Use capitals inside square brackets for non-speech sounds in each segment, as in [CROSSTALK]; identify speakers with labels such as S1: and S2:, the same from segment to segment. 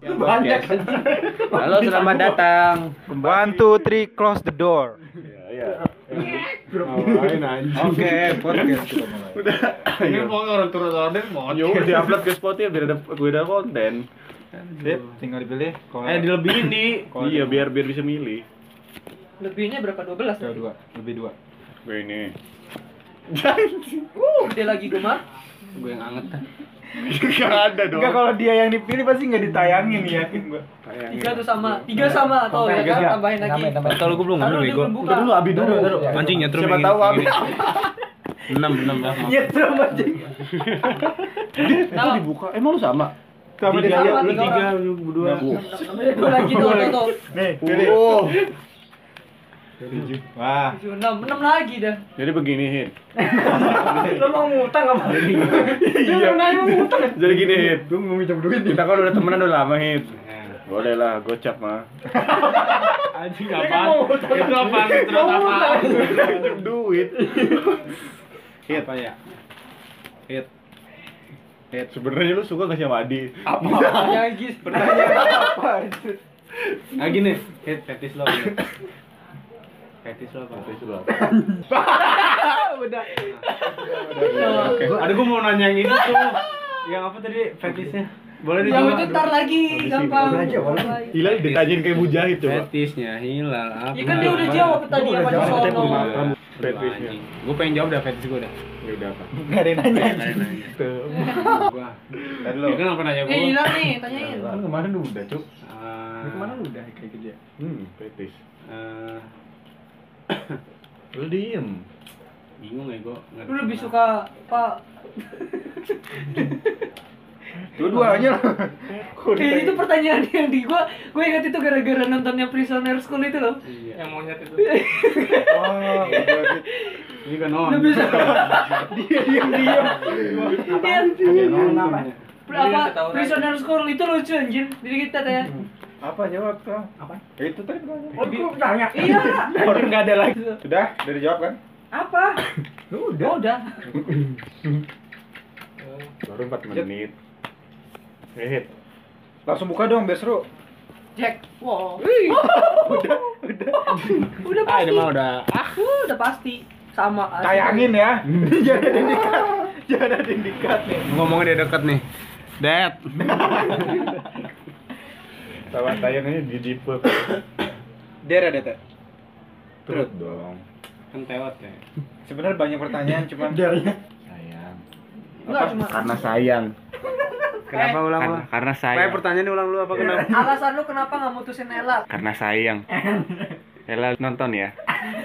S1: banyak.
S2: Halo, selamat datang.
S3: One, two, three, close the door.
S1: Iya, iya.
S4: Ngapain anjing?
S3: Oke, podcast kita mulai.
S1: Udah.
S4: Ini mau orang turun order mau.
S1: Yo, di Ya upload ke Spotify biar ada gue ada konten.
S3: Sip, tinggal dipilih. Kalau
S4: Eh dilebihin di.
S1: Iya, biar biar bisa milih.
S5: Lebihnya berapa? 12?
S3: ada dua, lebih dua.
S1: Gue ini. [LAUGHS]
S5: Uh, dia lagi gemar.
S2: Gue yang anget.
S1: Gak ada dong.
S3: dia yang dipilih pasti nggak ditayangin ya. yakin gua.
S1: Iya.
S5: Tiga
S1: gitu.
S5: tuh sama, tiga sama atau ya
S3: Tiga.
S5: kan tambahin lagi.
S3: Tambahin, tambahin.
S2: Kalau gue belum
S5: Taruh
S2: ngambil
S5: dia
S2: bego.
S5: belum buka.
S1: Udah dulu abi dulu.
S3: Taruh, taruh.
S2: Mancing nyetrum.
S1: Siapa
S2: ini.
S1: tahu abi.
S2: Enam, enam. maaf, maaf.
S3: Nyetrum aja.
S1: Itu dibuka. Emang lu sama?
S3: Kamu
S5: Tiga,
S3: dia
S5: tiga, tiga,
S3: berdua.
S5: Tambahin dua lagi tuh, tuh, tuh.
S3: Nih, pilih.
S1: Oh.
S2: Ah.
S3: Wah,
S5: Tujuh, enam, enam lagi dah.
S1: Jadi begini, Hit.
S2: Iya.
S5: Lo mau ngutang apa?
S1: Iya. Jadi gini, Hit.
S3: gua mau minjem duit
S1: Kita kan udah temenan udah lama, Hit. Boleh lah, gocap mah.
S4: Anjing apaan? Itu apaan? Itu apaan?
S1: [LAUGHS] Duit.
S3: Hit apa ya? Hit.
S1: Sebenarnya lu suka gak sama Adi?
S5: Lagi
S3: Apa?
S2: Nah gini, hit fetis lo. gini. Fetis lo apa?
S5: udah.
S2: Oke. Ada gue mau nanya yang itu tuh. Yang apa tadi fetisnya? Boleh
S5: Yang itu
S2: dijawab.
S5: ntar lagi gampang.
S1: Hilal ditanyain kayak mujahid coba.
S2: Fetisnya hilal apa?
S5: Ya kan dia udah jawab tadi
S3: Gua
S5: apa
S3: udah
S5: di
S3: jawab,
S5: sono.
S1: Fetisnya.
S2: Gue pengen jawab dah fetis gue dah. Gitu.
S1: Ya udah apa?
S3: Enggak ada yang nanya.
S2: [LAUGHS] Nanya-nanya. Gua.
S1: Tadi lo.
S2: Dia kan apa nanya
S5: Eh,
S2: gue?
S5: hilang nih,
S2: Iya,
S5: tanyain.
S1: Kan kemarin udah, Cuk.
S2: Ah,
S3: Kemana lu udah kayak gitu ya?
S1: Hmm, fetis.
S2: eh,
S1: Lu diem.
S2: bingung ya gue
S5: Lu lebih suka apa?
S3: Dua-duanya lah.
S5: Eh, itu pertanyaan yang di gua, gua ingat itu gara-gara nontonnya Prisoner School itu loh.
S2: yang monyet itu
S3: Oh,
S2: Iya. ini kan non
S5: Lebih suka
S3: Iya.
S2: Iya.
S5: dia
S2: kan
S5: diam-diam.
S3: namanya?
S5: Apa Prisoner School itu lucu anjir. Jadi kita tanya.
S2: Hmm.
S3: Apa jawab kau? Apa? Oh, Itu tadi pertanyaan.
S5: tanya. Iya.
S3: Orang nggak ada lagi. Sudah, dari jawab kan?
S5: Apa?
S3: Ya Udah.
S5: Oh, udah.
S1: Baru 4 menit. Eh, Hit.
S3: Langsung buka dong, biar seru.
S5: Jack. Wow.
S3: [LAUGHS]
S5: udah, udah. udah
S1: Ah,
S2: Ah,
S5: pasti.
S2: udah
S5: Uh, udah pasti. Sama. asli.
S3: Tayangin ya. [LAUGHS] Jangan ada indikat. Jangan ada indikat nih.
S2: ngomongnya dia deket nih Dad
S1: [LAUGHS] Tawa tayangannya di jipet.
S3: Der ada teh.
S1: Terus dong.
S2: kan tewat ya
S3: Sebenarnya banyak pertanyaan cuman
S1: Sayang.
S5: Enggak cuma.
S1: Karena sayang.
S2: kenapa ulang
S1: Karena, karena
S2: Pak
S1: sayang.
S2: pertanyaan ulang lu apa kenapa
S5: Eh, Alasan lu kenapa nggak mutusin Ella?
S1: Karena sayang. Ella nonton ya.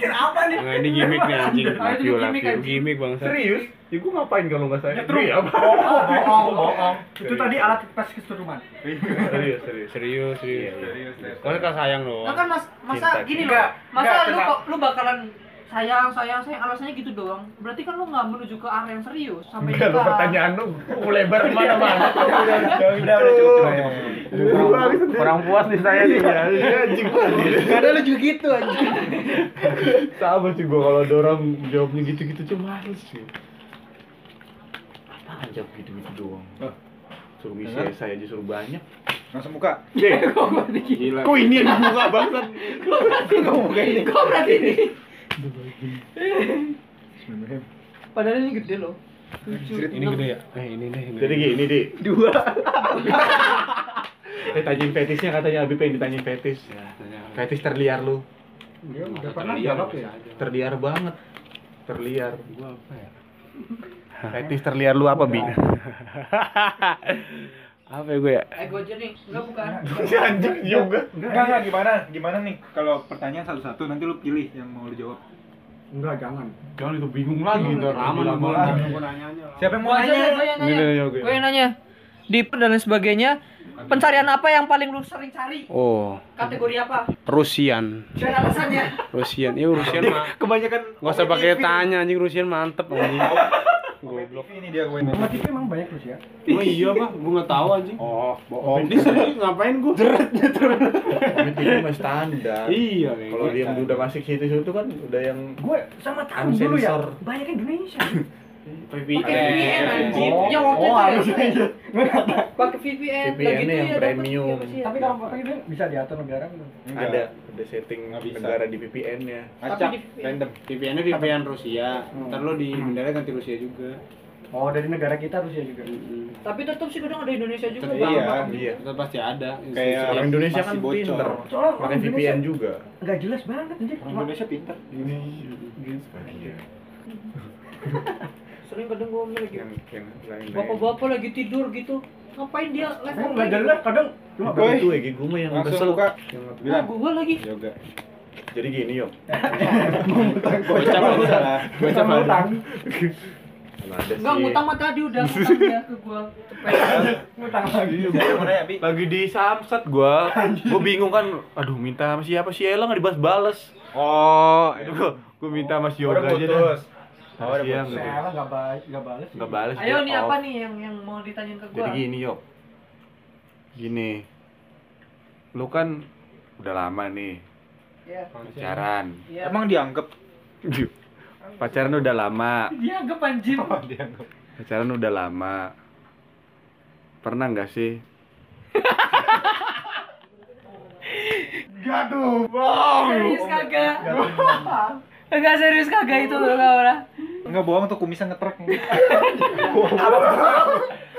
S5: Kenapa nih?
S1: Oh,
S2: Nah, ini gimmick nih anjing
S5: Ah,
S1: Love you,
S5: itu gimmick,
S1: love you.
S5: anjing.
S2: gimmick bangsa
S1: Serius? Ya gue ngapain kalau nggak sayang? Iya, Nyetrum [LAUGHS]
S3: itu tadi alat tes keseruan.
S1: Serius, serius.
S2: serius serius
S1: Iya, iya.
S2: masa tak sayang lo
S5: Nah kan mas, masa
S1: Cinta,
S5: gini
S1: cinta.
S5: loh, masa
S3: Enggak,
S5: lu
S3: enggak.
S5: kok lu bakalan sayang sayang sayang alasannya gitu doang. Berarti kan lu nggak menuju ke arah yang serius sampai
S1: Enggak, lu
S5: nikah.
S1: pertanyaan lu lebar kemana-mana
S3: Udah, udah, udah cukup.
S2: orang puas nih saya nih
S1: Iya, iya, anjing
S3: Karena lu juga gitu anjing.
S1: Sama sih gua kalau dorong jawabnya gitu-gitu cuma males sih Apaan jawab gitu-gitu doang
S3: Hah?
S1: Suruh ngisi
S3: Dengar?
S1: saya aja suruh banyak
S3: Langsung buka.
S2: gila
S1: Kok ini yang dibuka bangsat?
S3: Enggak buka ini.
S5: Kok berarti ini? Padahal ini gede loh.
S2: ini gede ya eh ini deh ini
S1: Jadi gini, Di
S3: Dua.
S1: Eh, tanyain fetisnya katanya Abi pengen ditanyain fetis
S2: Iya,
S1: Fetis terliar lu
S3: Dia udah
S1: Terliar banget Terliar
S2: gue apa ya
S1: Fetis terliar lu apa, Bi?
S2: apa ya gue ya
S5: Eh gue aja nih, enggak bukan.
S1: Anjing juga
S3: Enggak, enggak gimana? Gimana nih kalau pertanyaan satu-satu nanti lu pilih yang mau lu jawab.
S1: Jangan itu bingung lagi ntar
S2: lama
S1: Lama
S2: lama
S1: lagi.
S3: Siapa yang mau
S5: Gue aja
S3: nanya?
S5: gue yang
S1: Ini,
S5: nanya.
S1: ini, ini,
S5: Gue yang nanya. Di dan lain sebagainya, pencarian apa yang paling lu sering cari?
S2: oh
S5: Kategori apa?
S2: Rusian
S5: Dan alasannya?
S2: Rusian iya Rusian mah
S3: Kebanyakan
S2: nggak usah pakai tanya anjing Rusian mantep anjing [LAUGHS]
S3: Goblok. Ini dia gue. Sama TV emang banyak terus ya.
S2: Emang iya pak, gue nggak tahu anjing.
S1: Oh, bohong.
S2: Ini serius ngapain gue? Jeretnya terus.
S1: Komik itu mah standar.
S2: Iya.
S1: Kalau dia udah masuk situ situ kan udah yang
S3: Gue sama
S1: tahu dulu ya.
S3: Banyak Indonesia.
S4: VPN.
S5: Pakai VPN anjir.
S1: Oh,
S5: Yang waktu
S1: oh,
S5: itu ya.
S1: harusnya iya.
S5: Pakai VPN.
S1: VPN
S5: Lah
S1: yang
S5: gitu ya, dapet.
S1: premium.
S5: Iya, masih ya.
S6: Tapi kalau pakai VPN bisa diatur negara gitu. belum?
S3: Enggak.
S1: Ada, ada setting
S3: Nggak bisa.
S1: negara di VPN-nya.
S3: Acak,
S5: Tapi di-
S3: random.
S2: VPN-nya VPN Rusia. Ntar lo di bendera ganti Rusia juga.
S6: Oh, dari negara kita Rusia juga.
S2: Hmm.
S5: Tapi tetap sih kadang ada Indonesia juga
S3: Iya.
S5: Bang.
S1: Iya.
S2: Itu pasti ada.
S3: Kayak
S2: Sistem-
S1: Orang Indonesia kan
S3: Masih bocor.
S1: pinter.
S6: Soalnya orang
S1: Pakai
S6: Indonesia-
S1: VPN juga.
S6: Enggak jelas banget anjir.
S3: Orang
S6: Cuma
S3: Indonesia pintar.
S1: Iya.
S5: Sering kadang gue omel lagi.
S1: Yang yang lain.
S5: Bapak-bapak lagi tidur gitu. Ngapain dia live
S6: Emang
S5: online?
S6: enggak jelas kadang cuma
S1: Bukan itu ya, gue mah yang
S3: Langsung
S1: kesel.
S3: buka.
S5: Nah,
S3: Bilang.
S5: gua lagi.
S3: Yoga.
S1: Jadi gini yuk,
S3: Bocah bocah. Bocah
S6: sama utang.
S1: ada
S5: Enggak
S1: sih.
S5: ngutang mah tadi udah ngutang dia ke
S1: [LAUGHS]
S5: gua. Cepet.
S6: Utang lagi.
S3: Saya mau nanya, Bi.
S1: Lagi di samsat gua, gua bingung kan. Aduh, minta sama siapa sih Ella nggak dibales-bales.
S3: Oh,
S1: Aduh, gua, gua minta sama si
S3: udah
S1: Yoga aja dah.
S3: putus. Oh, udah
S1: Siang,
S3: putus.
S1: gitu.
S6: Saya enggak ba- ya. enggak balas.
S1: Nggak bales.
S5: Ayo
S1: dia
S5: nih
S1: off.
S5: apa nih yang yang mau ditanyain ke gua?
S1: Jadi gini yuk, gini, lu kan udah lama nih
S5: Iya.
S1: pacaran,
S5: Iya.
S3: Emang dianggap
S1: pacaran udah lama,
S5: dia agak anjir.
S3: dianggap.
S1: pacaran udah lama, pernah nggak sih?
S5: Serius kagak? Oh, Enggak serius kagak itu loh lah.
S3: Enggak bohong tuh kumisnya ngetrek. [LAUGHS]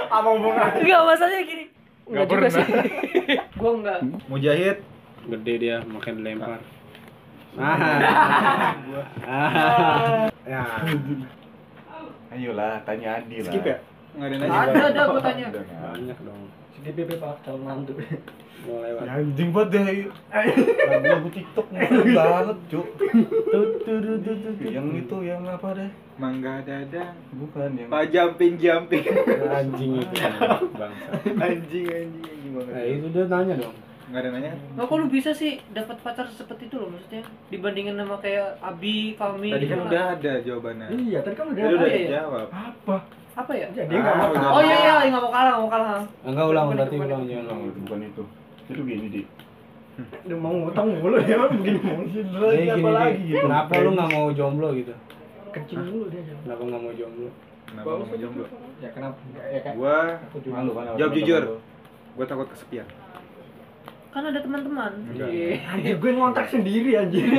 S5: Enggak masalahnya gini. Enggak juga sih. [LAUGHS] gua enggak.
S3: Mujahid.
S2: Gede dia makan dilempar.
S6: Ah.
S3: Ya.
S1: [LAUGHS] Ayolah, tanya Adi lah.
S3: Skip ya? Enggak ada yang nanya.
S5: Ada ada gua tanya.
S1: Udah
S6: ya?
S1: nggak ada.
S2: Banyak dong.
S6: Di BB Pak calon mantu.
S2: Mau lewat.
S1: Ya, anjing banget deh lagu-lagu TikTok ngeselin banget cuk Tut, tut, tut, tut, tut. yang itu yang apa deh
S3: Mangga dadang.
S1: bukan yang
S3: Pak jumping jumping.
S2: Anjing [LAUGHS] itu. Bangsa.
S3: [LAUGHS] anjing anjing anjing banget.
S2: Nah, itu dia tanya dong.
S3: Enggak ada yang nanya.
S5: Nah, kok lu bisa sih dapat pacar seperti itu loh maksudnya dibandingin sama kayak Abi, Fami.
S3: Tadi kan
S2: iya.
S5: gitu.
S3: udah ada jawabannya.
S6: Iya, tadi kan udah.
S3: Tadi
S2: ya?
S3: udah
S5: iya, iya.
S3: dijawab.
S6: Apa?
S5: apa ya?
S6: Jadi enggak mau
S3: Ah,
S6: tahu.
S5: Oh iya iya, nggak mau kalah, nggak mau kalah.
S2: Enggak ulang berarti ulang ya. jangan
S1: Bukan,
S2: ulang.
S1: bukan itu itu gini di
S6: Udah mau ngutang mulu dia mah begini mulu.
S2: Jadi Eh, gini, Di,
S1: gitu?
S2: kenapa lu nggak mau jomblo gitu?
S6: Kencing dulu dia. Jon.
S2: Kenapa nggak mau jomblo?
S3: Kenapa mau jomblo?
S6: Ya kenapa? Ya kan.
S3: Gua
S6: Aku juga.
S1: malu kan sama
S3: Jawab
S1: teman-teman
S3: jujur.
S1: lu.
S3: gua takut kesepian.
S5: Kan ada teman-teman.
S3: Enggak.
S5: Iya.
S6: Anjir, gue ngontrak sendiri anjir.
S1: lu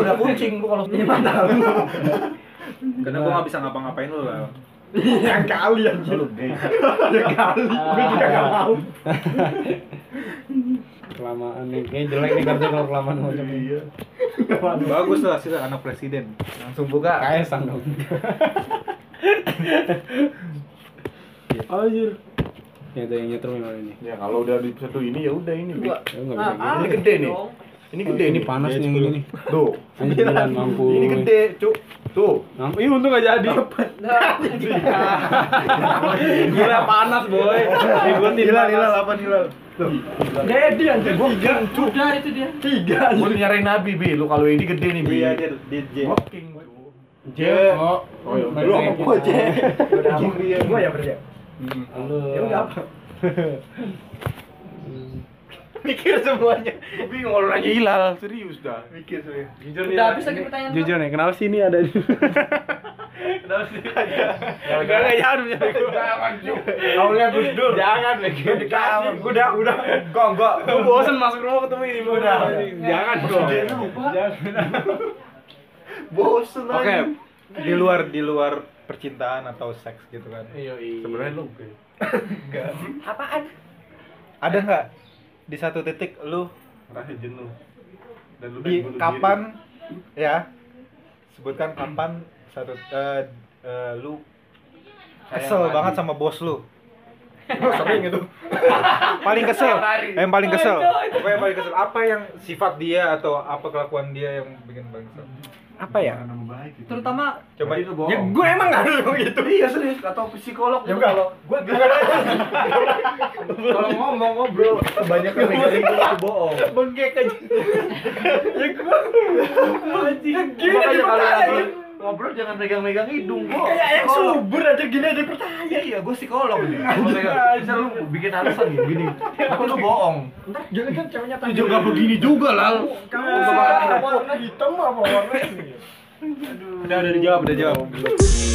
S1: udah kucing lu kalau
S6: Ini mantap.
S3: Karena gua nggak bisa ngapa-ngapain lu lah.
S6: Yang kali anjir.
S1: lu gay
S6: [LAUGHS] Yang kali. Gue juga enggak
S2: Ah.
S6: mau.
S2: Kelamaan nih, kayaknya jelek nih kerja kalau kelamaan mau jomblo.
S1: Iya.
S3: Bagus lah sih anak presiden.
S1: langsung buka
S2: KS an dong. Anjir. Ya ada yang nyetrum yang ini.
S1: ya kalau udah di satu ini ya udah ini Bi.
S5: Dua.
S2: Ya, nggak bisa
S5: Ah,
S1: ini
S5: ah,
S1: gede nih.
S5: dong.
S1: ini gede ini
S2: Ini panas nih yang ini nih.
S1: tuh
S2: Ini sembilan mampu.
S1: ini gede cuk tuh
S2: Mampu. Ih untung gak jadi.
S5: Nah,
S2: Gila panas boy. Ributin.
S3: Hilal, hilal, apa hilal?
S6: Dedi anjir. Gue
S5: udah itu dia.
S6: tiga anjir.
S1: gua nyariin nabi bi lu kalau ini gede nih bi
S3: Iya, dia, dia, dia.
S1: Walking, Bi.
S2: Oh,
S1: Oh, ya udah.
S2: Lu apa gua, Cek? [LAUGHS]
S6: Udah apa? Gue ya berarti.
S2: Halo.
S6: Ya udah apa?
S3: Mikir semuanya.
S1: bingung kalau nanya hilal serius dah
S3: Mikir semuanya.
S2: Jujur
S5: Udah habis lagi pertanyaan.
S2: Jujur nih, kenapa sih ini ada di
S1: Gara-gara jangan
S2: Kamu lihat Gus Dur. Jangan lagi.
S3: Gua udah, udah. Enggak, enggak.
S2: Gue bosen masuk rumah ketemu ini. Udah. Jangan dong.
S1: bosen
S3: Oke, di luar di luar percintaan atau seks gitu kan.
S2: Iya.
S1: sebenarnya lu
S3: Ada nggak di satu titik lu
S1: rasa jenuh dan lu
S3: di kapan ya sebutkan kapan satu eh, eh, lu kesel banget sama bos lu. Lu Sering itu. paling kesel. Yang paling kesel. Apa yang paling kesel? Apa yang sifat dia atau apa kelakuan dia yang bikin paling kesel? Apa ya?
S5: Terutama
S3: Coba Ya,
S1: Tadi lu bohong.
S3: gue emang gak ngomong gitu.
S1: iya serius atau psikolog
S6: Ya enggak. Gue
S1: kalau ngomong ngobrol kebanyakan negatif itu bohong
S3: Bengkek aja.
S1: makanya kalau
S2: ya,
S1: ngobrol ngobrol jangan megang-megang hidung kok kayak yang subur aja gini aja pertanyaan iya gue psikolog nih Gua pegang. bisa lu bikin alasan gini gini tapi lu bohong
S6: Ntar jangan kan ceweknya
S1: lu juga begini juga lal
S6: Kamu
S1: Lu bakal
S6: warna hitam apa warna ini?
S3: Udah udah dijawab, udah jawab.